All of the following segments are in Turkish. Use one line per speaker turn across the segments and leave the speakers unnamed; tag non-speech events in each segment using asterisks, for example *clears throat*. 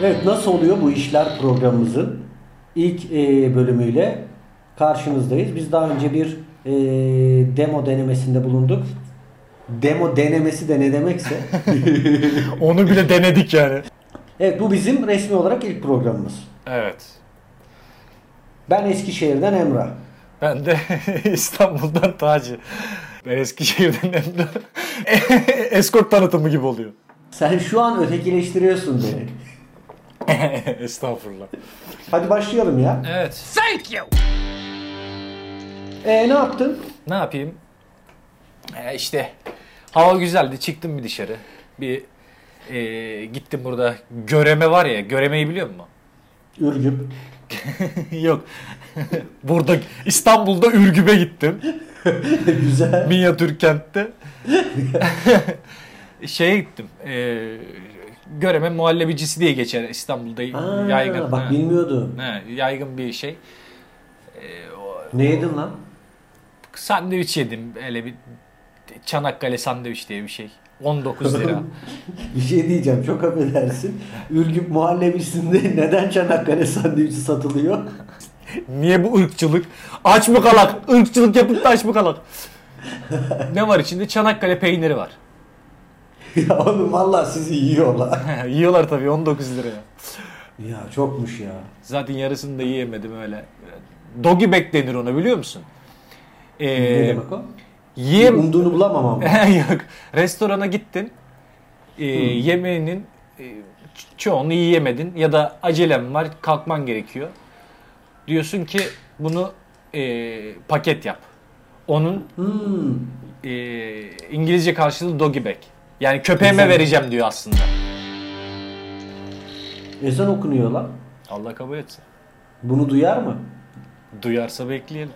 Evet nasıl oluyor bu işler programımızın ilk e, bölümüyle karşınızdayız. Biz daha önce bir e, demo denemesinde bulunduk. Demo denemesi de ne demekse.
*laughs* Onu bile denedik yani.
evet bu bizim resmi olarak ilk programımız.
Evet.
Ben Eskişehir'den Emrah.
Ben de *laughs* İstanbul'dan Taci. Ben Eskişehir'den *laughs* Emre. Eskort tanıtımı gibi oluyor.
Sen şu an ötekileştiriyorsun beni.
*laughs* Estağfurullah.
Hadi başlayalım ya.
Evet.
E ne yaptın?
Ne yapayım? Ee, işte hava güzeldi. Çıktım bir dışarı. Bir e, gittim burada. Göreme var ya. Göremeyi biliyor musun?
Ürgüp.
*laughs* Yok. burada İstanbul'da Ürgüp'e gittim.
Güzel.
Minyatür kentte. *laughs* Şeye gittim. E, göreme muhallebicisi diye geçer İstanbul'da
Aa,
yaygın.
bak
Ha.
bilmiyordum.
He, yaygın bir şey. E, o-
Ne yedin lan?
sandviç yedim. Öyle bir Çanakkale sandviç diye bir şey. 19 lira.
*laughs* Bir şey diyeceğim çok affedersin. Ürgüp muhallebisinde neden Çanakkale sandviçi satılıyor?
*laughs*
*laughs*
Niye bu ırkçılık? Aç mı kalak? Irkçılık yapıp da aç mı kalak? *laughs* ne var içinde? Çanakkale peyniri var.
ya oğlum valla sizi yiyorlar.
*laughs* Yiyorlar tabii 19 liraya.
ya çokmuş ya.
Zaten yarısını da yiyemedim öyle. Doggy bag denir ona biliyor musun?
ne
Ee,
demek o?
yiyem,
Umduğunu bulamamam.
*laughs* Yok. Restorana gittin. Ee, yemeğinin e, ço- çoğunu yiyemedin ya da acelem var kalkman gerekiyor. Diyorsun ki bunu e, paket yap. Onun
Hmm.
e, İngilizce karşılığı doggy bag. Yani köpeğime
Güzel.
vereceğim diyor aslında.
Ezan okunuyor lan.
Allah kabul etsin.
Bunu duyar mı?
Duyarsa bekleyelim.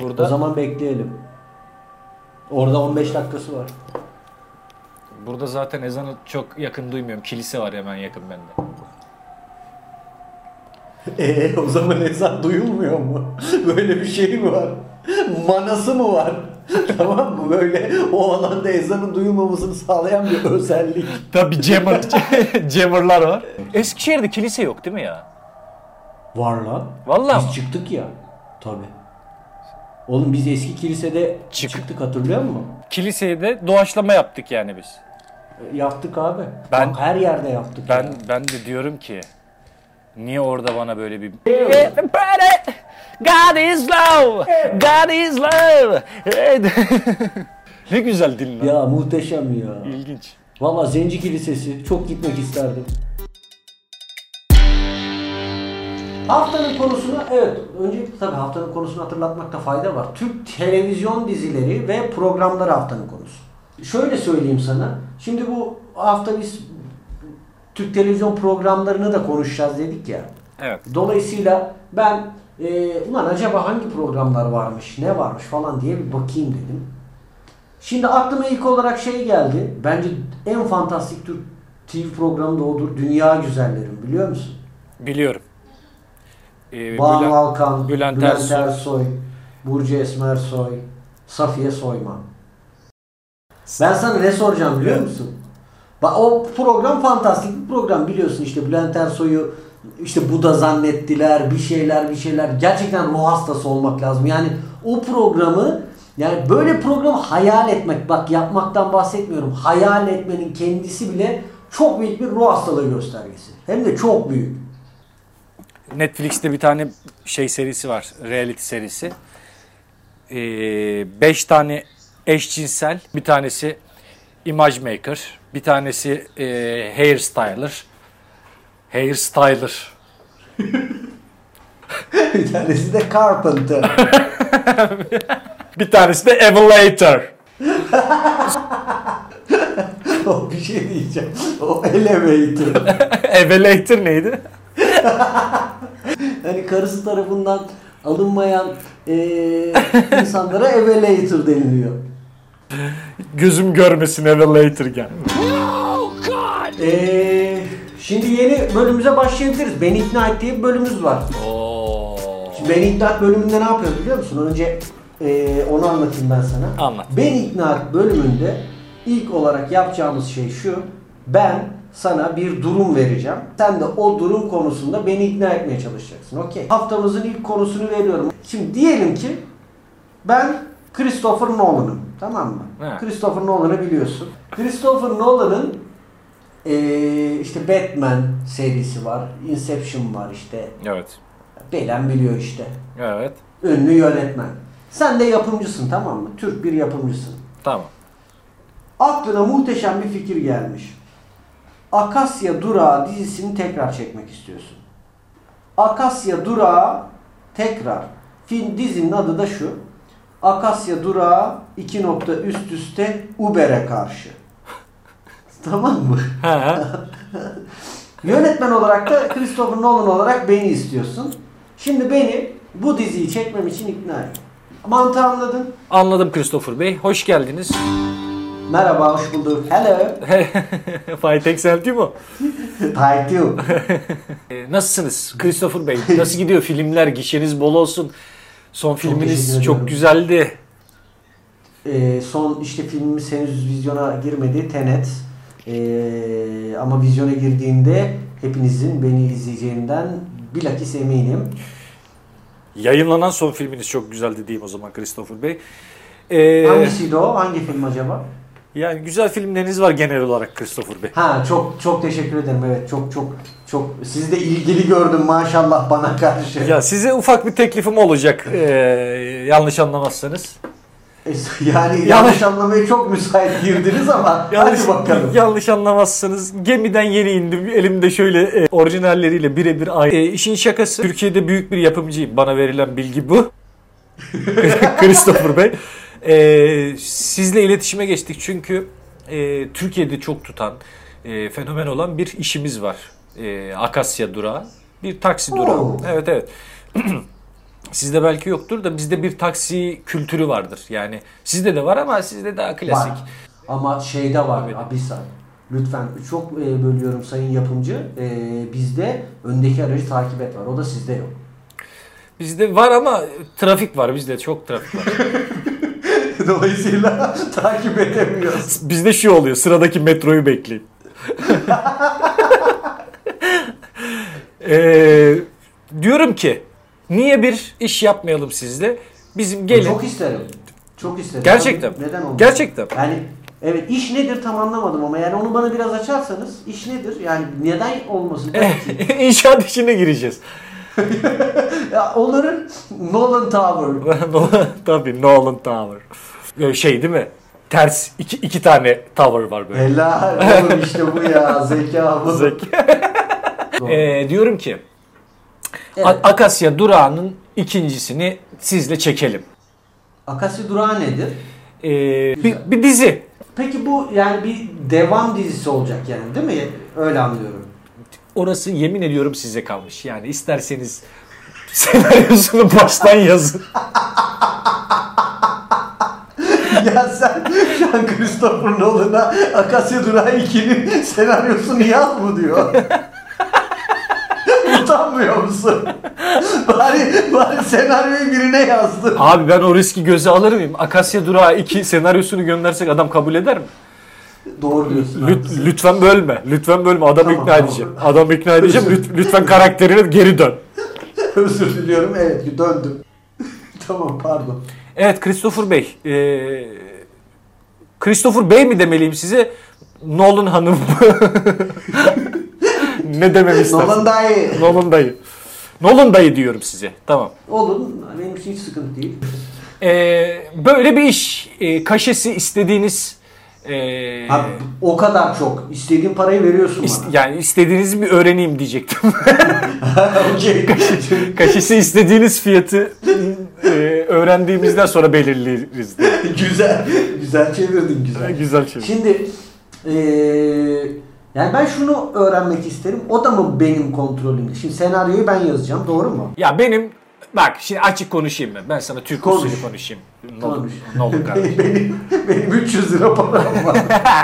O
Burada
zaman bekleyelim. Orada 15 dakikası var.
burada zaten ezanı çok yakın duymuyorum. Kilise var hemen yakın bende.
Eee E, o zaman ezan duyulmuyor mu? *laughs* Böyle bir şey mi var? Manası mı var? *laughs* tamam mı? Böyle o alanda ezanın duyulmamasını sağlayan bir özellik.
Tabii jammer, *laughs* jammerlar var. Eskişehir'de kilise yok değil mi ya?
Var lan.
Vallahi
Biz
mi?
çıktık ya. Tabi. Oğlum biz eski kilisede
Çık-
çıktık hatırlıyor musun?
Kiliseye de doğaçlama yaptık yani biz.
E, Yaptık abi.
Ben-
Bak, her yerde yaptık. ya.
Ben ben de diyorum ki niye orada bana böyle bir God is love. God is love. *laughs* ne güzel dinle.
Ya muhteşem ya.
İlginç.
Valla Zenci Kilisesi. Çok gitmek isterdim. Haftanın konusuna evet öncelikle tabii haftanın konusunu hatırlatmakta fayda var. Türk televizyon dizileri ve programları haftanın konusu. Şöyle söyleyeyim sana. Şimdi bu hafta biz Türk televizyon programlarını da konuşacağız dedik ya.
Evet.
Dolayısıyla ben e, ulan acaba hangi programlar varmış, ne varmış falan diye bir bakayım dedim. Şimdi aklıma ilk olarak şey geldi. Bence en fantastik Türk TV programı da odur. Dünya Güzellerim biliyor musun?
Biliyorum. Ee,
Banu
Bülent-
Alkan,
Bülent
Bülent,
Ersoy.
Ersoy, Burcu Esmersoy, Safiye Soyman. Ben sana ne soracağım biliyor musun? Bak o program fantastik bir program biliyorsun işte Bülent Ersoy'u işte Buda zannettiler bir şeyler bir şeyler gerçekten ruh hastası olmak lazım. Yani o programı yani böyle programı hayal etmek bak yapmaktan bahsetmiyorum. Hayal etmenin kendisi bile çok büyük bir ruh hastalığı göstergesi. Hem de çok büyük.
Netflix'te bir tane şey serisi var. Reality serisi. 5 tane eşcinsel. Bir tanesi image maker. Bir tanesi e, hairstyler. Hairstyler.
*laughs* bir tanesi de Carpenter.
Bir tanesi de *laughs* elevator.
*laughs* O bir şey diyeceğim. O elevator.
elevator neydi?
hani karısı tarafından alınmayan eee, insanlara elevator deniliyor.
Gözüm görmesin elevator gel.
Eee, şimdi yeni bölümümüze başlayabiliriz. Beni ikna et diye bir bölümümüz var. Şimdi Beni ikna et bölümünde ne yapıyoruz biliyor musun? Önce eee, onu anlatayım ben sana.
Anlat.
Beni ikna et bölümünde ilk olarak yapacağımız şey şu. Ben sana bir durum vereceğim. Sen de o durum konusunda beni ikna etmeye çalışacaksın. Okey. Haftamızın ilk konusunu veriyorum. Şimdi diyelim ki ben Christopher Nolan'ım. Tamam mı?
He.
Christopher Nolan'ı biliyorsun. Christopher Nolan'ın eee, işte Batman serisi var. Inception var işte.
Evet.
Belen biliyor işte.
Evet.
Ünlü yönetmen. Sen de yapımcısın tamam mı? Türk bir yapımcısın.
Tamam.
Aklına muhteşem bir fikir gelmiş. Akasya Durağı dizisini tekrar çekmek istiyorsun. Akasya Durağı tekrar. Film dizinin adı da şu. Akasya Durağı 2 nokta üst üste Uber'e karşı. *laughs* tamam mı? Yönetmen olarak da Christopher Nolan olarak beni istiyorsun. Şimdi beni bu diziyi çekmem için ikna et. Mantığı anladın.
Anladım Christopher Bey. Hoş geldiniz. *laughs*
Merhaba, hoş bulduk. Hello. *laughs*
Fahit Eksel değil mi o?
Thank you.
Ee, Nasılsınız Christopher Bey? Nasıl gidiyor filmler? Gişeniz bol olsun. Son filminiz
teşekkür
çok,
ediyorum.
güzeldi.
Ee, son işte filmimiz henüz vizyona girmedi. Tenet. Ee, ama vizyona girdiğinde hepinizin beni izleyeceğinden bilakis eminim.
Yayınlanan son filminiz çok güzeldi diyeyim o zaman Christopher Bey. Ee,
Hangisiydi o? Hangi film acaba?
yani güzel filmleriniz var genel olarak Christopher Bey.
Ha çok çok teşekkür ederim. Evet çok çok çok siz de ilgili gördüm maşallah bana karşı.
Ya size ufak bir teklifim olacak. ee, yanlış anlamazsanız.
E, Yani yanlış anlamaya çok müsait girdiniz ama hadi bakalım.
Yanlış anlamazsınız. Gemiden yeni indim. Elimde şöyle e, orijinalleriyle birebir aynı. E, işin şakası. Türkiye'de büyük bir yapımcıyım. Bana verilen bilgi bu. *laughs* Christopher Bey. E, sizle iletişime geçtik çünkü e, Türkiye'de çok tutan, e, fenomen olan bir işimiz var. E, Akasya durağı. Bir taksi durağı.
Oo.
Evet evet. *clears throat* Sizde belki yoktur da bizde bir taksi kültürü vardır. Yani sizde de var ama sizde daha klasik.
Var. Ama şeyde var
Evet.
abi sen. Lütfen çok e, bölüyorum sayın yapımcı. E, bizde öndeki aracı takip et var. O da sizde yok.
Bizde var ama trafik var bizde çok trafik var.
Dolayısıyla *laughs* takip edemiyoruz.
*laughs* bizde şu oluyor sıradaki metroyu bekleyin. *laughs* Ee, diyorum ki niye bir iş yapmayalım sizle? Bizim gelin.
Çok isterim. Çok isterim.
Gerçekten.
Tabii, Neden olmasın?
Gerçekten. *laughs*
Yani evet iş nedir tam anlamadım ama yani onu bana biraz açarsanız iş nedir? Yani neden
*laughs*
olmasın? Tabii ki.
İnşaat işine gireceğiz. *laughs*
ya, onların Nolan Tower.
Tabii Nolan Tower. Ee, Şey değil mi? Ters iki, iki tane tower var böyle.
Helal oğlum işte bu ya zeka bu.
Zeki.
Doğru.
Ee, diyorum ki
Evet.
A- Akasya durağının ikincisini sizle çekelim.
Akasya durağı nedir?
Ee,
Güzel.
bir, bir dizi.
Peki bu yani bir devam dizisi olacak yani değil mi? Öyle anlıyorum. *laughs*
Orası yemin ediyorum size kalmış. Yani isterseniz *laughs* senaryosunu baştan yazın.
ya sen şu an Christopher Nolan'a Akasya Durağı 2'nin senaryosunu yaz mı diyor. *laughs* Utanmıyor musun? bari, bari senaryoyu birine yazdı.
Abi ben o riski göze alır mıyım? Akasya Durağı 2 senaryosunu göndersek adam kabul eder mi?
Doğru diyorsun.
Lüt-
haklısın.
lütfen bölme. Lütfen bölme. Adam
Tamam,
ikna
tamam.
edeceğim. Adam ikna edeceğim. Lüt- lütfen karakterine geri dön.
*laughs* Özür diliyorum. Evet döndüm. *laughs* tamam pardon.
Evet Christopher Bey. Ee, Christopher Bey mi demeliyim size? Nolan Hanım. *laughs* ne dememi istersiniz?
Nolan daha iyi.
Nolan dayı. Nolan dayı diyorum size. Tamam.
Olun. Benim için hiç sıkıntı değil.
Ee, böyle bir iş. Ee, kaşesi istediğiniz ee,
Abi, o kadar çok. İstediğin parayı veriyorsun
ist- yani istediğinizi bir öğreneyim diyecektim. *laughs*
bana. *laughs* Okey.
kaşesi istediğiniz fiyatı ee, öğrendiğimizden sonra belirleriz. diye.
*laughs* güzel. Güzel çevirdin güzel.
Güzel şey.
Şimdi eee, yani ben şunu öğrenmek isterim. O da mı benim kontrolümde? Şimdi senaryoyu ben yazacağım. Doğru mu?
Ya benim bak şimdi açık konuşayım ben. Ben sana Türk
Konuş.
usulü konuşayım. Ne olur,
Konuş.
ne olur
*laughs*
kardeşim. *laughs*
benim, benim 300 lira param var.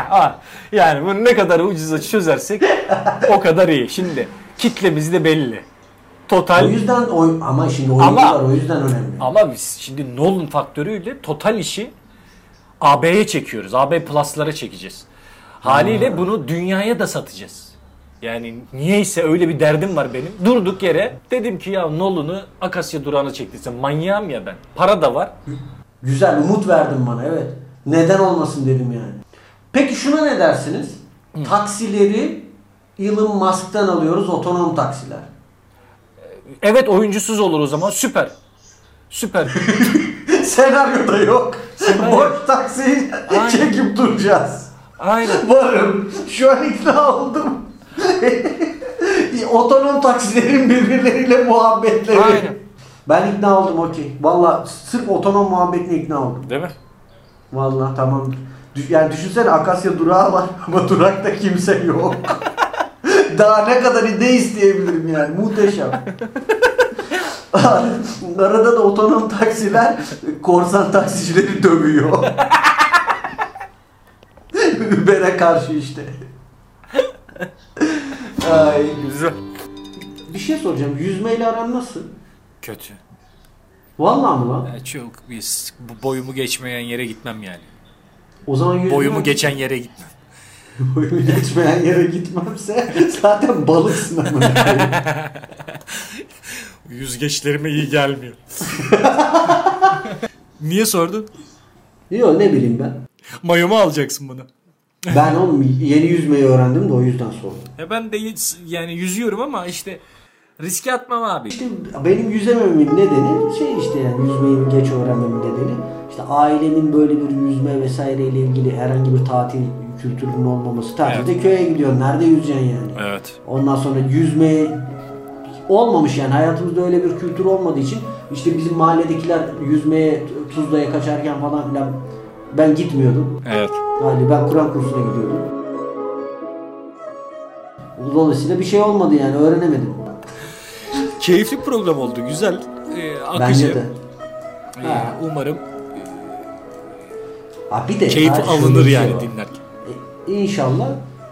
Ha, yani bunu ne kadar ucuza çözersek o kadar iyi. Şimdi kitlemiz de belli.
o
Total
yüzden oy, ama şimdi oyuncular o yüzden önemli.
ama biz şimdi Nolan faktörüyle total işi AB'ye çekiyoruz. AB Plus'lara çekeceğiz. Haliyle bunu dünyaya da satacağız. Yani niyeyse öyle bir derdim var benim. Durduk yere dedim ki ya Nolan'ı Akasya durağına çektirsin. Manyağım ya ben. Para da var.
Güzel umut verdin bana evet. Neden olmasın dedim yani. Peki şuna ne dersiniz? Taksileri Elon Musk'tan alıyoruz otonom taksiler. *laughs*
Evet oyuncusuz olur o zaman. Süper. *laughs* Süper.
Senaryoda yok.
Senaryo.
Boş taksiyi
Aynen.
çekip duracağız. *laughs*
Aynen.
Varım. Şu an ikna oldum. *laughs* Otonom taksilerin birbirleriyle muhabbetleri.
Aynen.
Ben ikna oldum okey. Valla sırf otonom muhabbetine ikna oldum.
Değil mi?
Valla tamam. Düş- Yani düşünsene Akasya durağı var *laughs* ama durakta kimse yok. *laughs* Daha ne kadar ne isteyebilirim yani muhteşem. *laughs* Arada da otonom taksiler korsan taksicileri dövüyor. *laughs* Uber'e karşı işte. *laughs* Ay.
Güzel.
Bir şey soracağım. Yüzmeyle aran nasıl?
Kötü.
Vallahi mı lan?
çok biz bu boyumu geçmeyen yere gitmem yani.
O zaman yüzme... *laughs*
Boyumu geçen yere gitmem.
Boyumu geçmeyen yere gitmemse zaten balıksın ama.
Yüzgeçlerime iyi gelmiyor. *laughs* Niye sordun?
Yok ne bileyim ben.
Mayomu alacaksın bunu.
Ben oğlum yeni yüzmeyi öğrendim de o yüzden sordum.
Ya E ben de hiç- yani yüzüyorum ama işte riske atmam abi.
İşte benim yüzemememin nedeni şey işte yani yüzmeyi geç öğrenmemin nedeni işte ailemin böyle bir yüzme vesaireyle ilgili herhangi bir tatil kültürünün olmaması. Tatilde köye gidiyorsun. Nerede yüzeceksin yani?
Evet.
Ondan sonra yüzme olmamış yani hayatımızda öyle bir kültür olmadığı için işte bizim mahalledekiler yüzmeye Tuzla'ya kaçarken falan filan ben gitmiyordum.
Evet.
Yani ben Kur'an kursuna gidiyordum. Dolayısıyla bir şey olmadı yani öğrenemedim.
Keyifli program oldu. Güzel. Ee,
Bence de.
akıcı. Ee,
Ha.
umarım
Ha bir de
keyif
ha, şöyle
alınır
bir şey
yani
var.
dinlerken.
E, İnşallah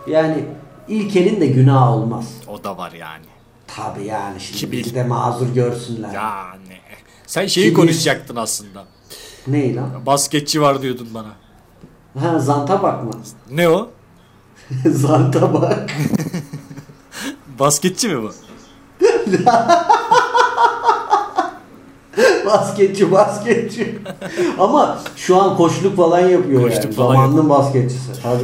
yani ilk elin de günah olmaz.
O da var yani.
Tabi yani şimdi
Kibir.
bizi de mazur görsünler.
Yani. Sen şeyi
Kimi-
konuşacaktın aslında.
Ney lan?
Basketçi var diyordun bana.
Ha zanta *laughs* bakma.
Ne o?
zanta bak.
Basketçi mi bu?
*laughs* basketçi basketçi. Ama şu an koçluk falan yapıyor
Koçluk
yani.
falan
Zamanının basketçisi. Tabi.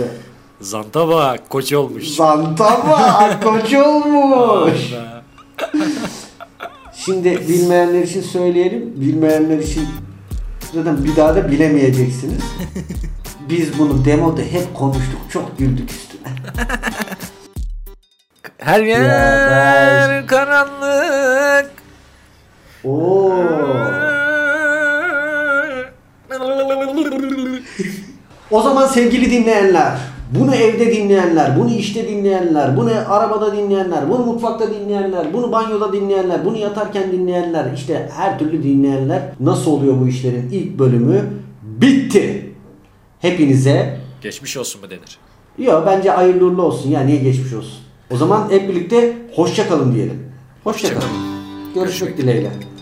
Zanta bak koç olmuş.
Zanta bak. Koç olmuş.
Be.
*laughs* Şimdi bilmeyenler için söyleyelim. Bilmeyenler için zaten bir daha da bilemeyeceksiniz. Biz bunu demoda hep konuştuk. Çok güldük üstüne.
Her yer
ben-
karanlık.
Oo. O zaman sevgili dinleyenler, bunu evde dinleyenler, bunu işte dinleyenler, bunu arabada dinleyenler, bunu mutfakta dinleyenler, bunu banyoda dinleyenler, bunu yatarken dinleyenler, işte her türlü dinleyenler nasıl oluyor bu işlerin ilk bölümü bitti. Hepinize
Geçmiş olsun mu denir?
Yok bence hayırlı uğurlu olsun ya niye geçmiş olsun. O zaman hep birlikte hoşça kalın diyelim. Hoşça kalın. Görüşmek dileğiyle.